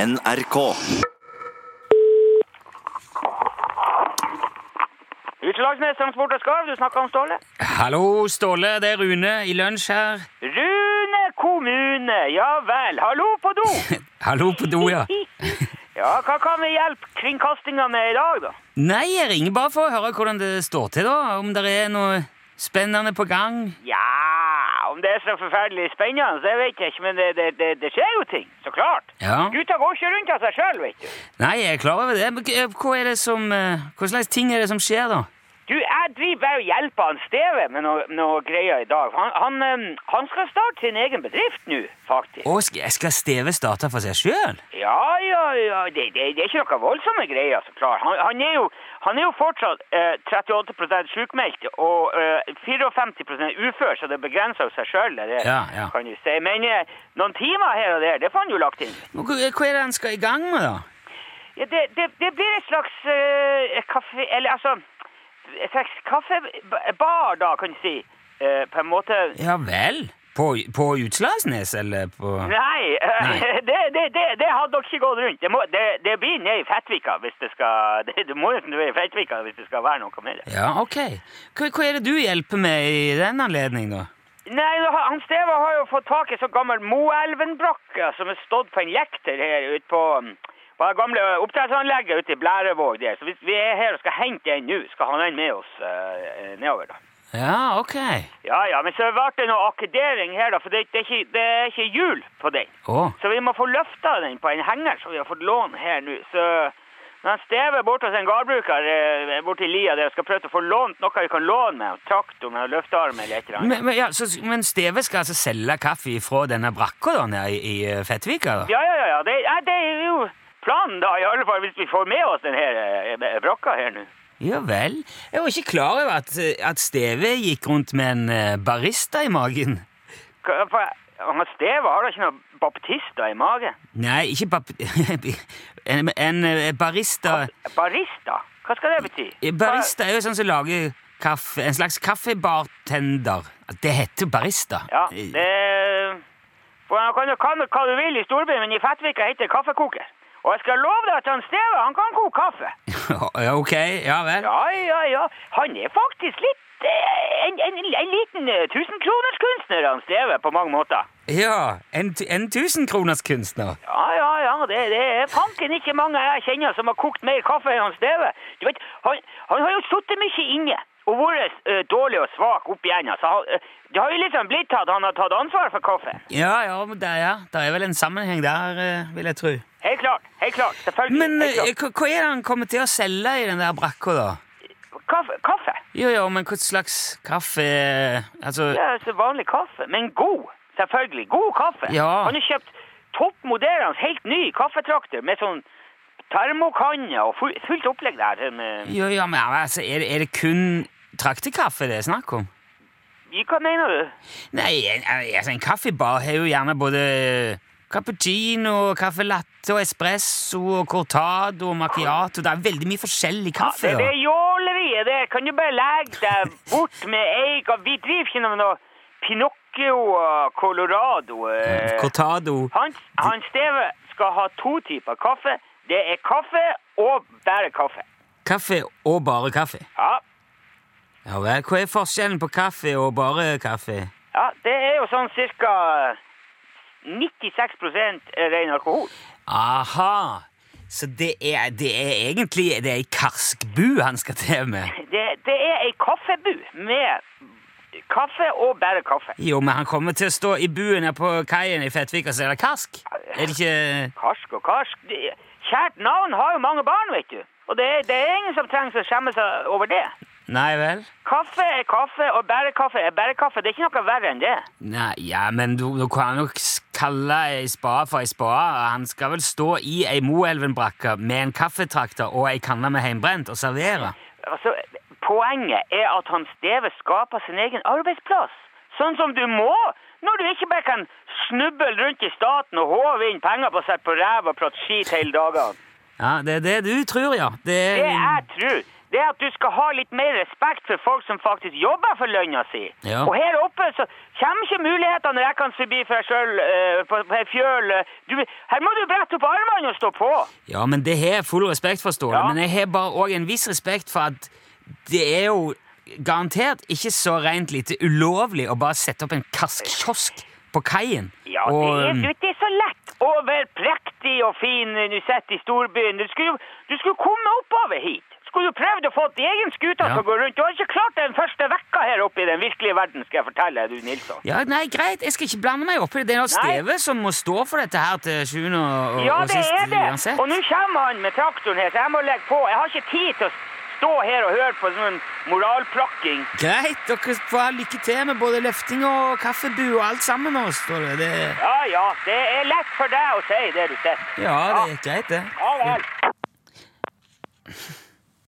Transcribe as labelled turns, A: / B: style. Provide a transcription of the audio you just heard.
A: NRK.
B: Utelagsnes Transport og Skarv, du snakker om Ståle?
C: Hallo, Ståle. Det er Rune i lunsj her.
B: Rune kommune, ja vel. Hallo på do!
C: Hallo på do, ja.
B: Ja, hva kan vi hjelpe kringkastinga med i dag, da?
C: Nei, jeg ringer bare for å høre hvordan det står til, da. Om det er noe spennende på gang.
B: Ja, om det er så forferdelig spennende, det vet jeg ikke, men det, det, det, det skjer jo ting, så klart.
C: Ja.
B: Gutta går ikke rundt av seg sjøl, vet du.
C: Nei, jeg er klar over det. Men k- Hva er det som eh, Hva slags ting er det som skjer, da?
B: Du, jeg driver bare og hjelper han Steve med noe, noe greier i dag. Han, han, eh, han skal starte sin egen bedrift nå, faktisk.
C: Å, sk- skal Steve starte for seg sjøl?
B: Ja, ja, ja. Det, det, det er ikke noe voldsomme greier, så klart. Han, han, er, jo, han er jo fortsatt eh, 38 sjukmeldt og eh, 54 ufør, så det begrenser jo seg sjøl, det der,
C: Ja, ja.
B: kan du si. Men eh, noen timer her og der, det får han jo lagt inn.
C: Hva hva er det han skal i gang med, da?
B: Ja, det, det, det blir et slags eh, kaffe... Eller altså Et slags kaffebar, da, kan du si. Eh, på en måte
C: Ja vel? På, på Utslagsnes, eller på
B: Nei, eh,
C: Nei.
B: Det, det, det, det hadde dere ikke gått rundt. Det, må, det, det blir ned i Fettvika hvis det skal det, Du må jo ned i Fettvika hvis det skal være noe med det.
C: Ja, ok. Hva, hva er det du hjelper med i den anledning, da?
B: Nei, nå har- han Steva har jo fått tak i sånn gammel Moelvenbrakke som har stått på en jekter her ute på mm, på det gamle oppdrettsanlegget ute i Blærevåg der. Så hvis vi er her og skal hente den nå, skal han den med oss eh, nedover, da.
C: Ja, ok.
B: Ja ja, men så ble det noe akkedering her, da, for det, det, er ikke, det er ikke hjul på den.
C: Å.
B: Så vi må få løfta den på en henger som vi har fått låne her nå. Så når han stever bort hos en gardbruker eh, borti lia der og skal prøve å få lånt noe vi kan låne med, en traktor med en løftearm eller et eller annet.
C: Men, men, ja, så, men Steve skal altså selge kaffe fra denne brakka da, nede i, i eh, Fettvika? da?
B: Ja, ja, ja, ja. Det, ja, det er jo planen da, i alle fall hvis vi får med oss den her eh, brakka her nå.
C: Ja vel. Jeg var ikke klar over at, eh, at Steve gikk rundt med en eh, barista i magen.
B: Hva- For han Steve har da ikke noen baptister i magen?
C: Nei, ikke bap... en, en eh, barista
B: Barista? Hva skal det bety?
C: Barista er jo sånn som lager kaffe En slags kaffebartender. At Det heter barista.
B: Ja, det For han kan jo kalle hva du vil i storbyen, men i Fettvika heter det kaffekoker. Og jeg skal love deg at han Steve, han kan koke kaffe.
C: Ja, ok, ja vel.
B: Ja, ja, ja. Han er faktisk litt eh, en, en, en liten eh, tusenkronerskunstner, han Steve, på mange måter.
C: Ja, en, tu- en tusenkronerskunstner.
B: Ja, ja, ja. Det, det er fanken ikke mange jeg kjenner som har kokt mer kaffe enn han Steve. Du vet, han, han har jo sittet mye inne. Og vært eh, dårlig og svak opp igjennom. Så han, eh, det har jo liksom blitt at han har tatt ansvar for kaffe.
C: Ja, ja, men det, ja. det er vel en sammenheng der, eh, vil jeg tro.
B: Helt klart. Helt klart. Selvfølgelig.
C: Men
B: helt
C: eh,
B: klart.
C: hva hva er det han kommer til å selge i den der brakka, da?
B: Kaffe. kaffe.
C: Jo, jo, men hva slags kaffe Altså
B: Det er så vanlig kaffe, men god. Selvfølgelig. God kaffe.
C: Ja.
B: Han har kjøpt toppmoderende, helt ny kaffetrakter med sånn termokanne og full, fullt opplegg der. sånn, eh,
C: Jo, ja, men altså, er det, er det kun traktekaffe det er snakk om?
B: i- eh, Hva mener du?
C: Nei, en- altså, en kaffebar har jo gjerne både cappuccino, kaffe latte og espresso og cortado og macchiato. Det er veldig mye forskjellig kaffe.
B: det,
C: da.
B: det er jåleriet der. Kan du bare legge deg bort med eik? og Vi driver ikke med noe Pinocchio og Colorado. eh.
C: Cortado.
B: Han, han Steve skal ha to typer kaffe. Det er kaffe og bare kaffe.
C: Kaffe og bare kaffe.
B: Ja,
C: Ja vel, hva er forskjellen på kaffe og bare kaffe?
B: Ja, det er jo sånn cirka 96 ren alkohol.
C: Aha! Så det er, det er egentlig det er ei karskbu han skal til med.
B: Det, det er ei kaffebu med kaffe og bare kaffe.
C: Jo, men han kommer til å stå i buen her på kaien i Fettvik og selge karsk. Er det ikke
B: Karsk og karsk. Det- Kjært navn har jo mange barn, vet du. Og det er, det er ingen som trenger å skjemme seg over det.
C: Nei vel?
B: Kaffe er kaffe, og bare kaffe er bare kaffe. Det er ikke noe verre enn det.
C: Nei, ja, men du, du kan nok s- kalle ei spade for ei spade. Han skal vel stå i ei Moelven-brakke med en kaffetrakter og ei kanne med heimbrent og servere.
B: Altså, poenget er at han Steve skaper sin egen arbeidsplass. Sånn som du må, når du ikke bare kan snuble rundt i staten og håve inn penger på seg på ræv og prate skit hele dagene.
C: Ja, det er det du tror, ja. Det
B: Det
C: er,
B: jeg tror, det er at du skal ha litt mer respekt for folk som faktisk jobber for lønna si.
C: Ja.
B: Og her oppe så kommer ikke mulighetene når jeg kan forbi for meg sjøl på, på ei fjøl. eh, Du, her må du brette opp armene og stå på.
C: Ja, men det har jeg full respekt for, Ståle.
B: Ja.
C: Men jeg har bare òg en viss respekt for at det er jo garantert ikke så rent lite ulovlig å bare sette opp en kask- kiosk på kaien.
B: Ja,
C: og,
B: det, er,
C: um,
B: du, det er så lett å være prektig og fin når du sitter i storbyen. Du skulle, jo- du skulle komme oppover hit. Skulle du prøvd å få din egen skute
C: Ja.
B: til å gå rundt. Du har ikke klart det den første vekka her oppe i den virkelige verden, skal jeg fortelle deg, du Nilsson.
C: ja, nei, greit, jeg skal ikke blande meg opp i det. Det er noe
B: Nei.
C: Steve som må stå for dette her til sjuende og, og,
B: Ja,
C: og
B: det
C: sist
B: er det.
C: uansett.
B: Og nå kommer han med traktoren her, så jeg må legge på. Jeg har ikke tid til å stå her og høre på sånn moralplakking.
C: Greit, dere får ha lykke til med både løfting og kaffebu og alt sammen nå, Ståle. Det,
B: Ja, ja, det er lett for deg å si det du sier.
C: ja, det er greit, det.
B: Ja vel.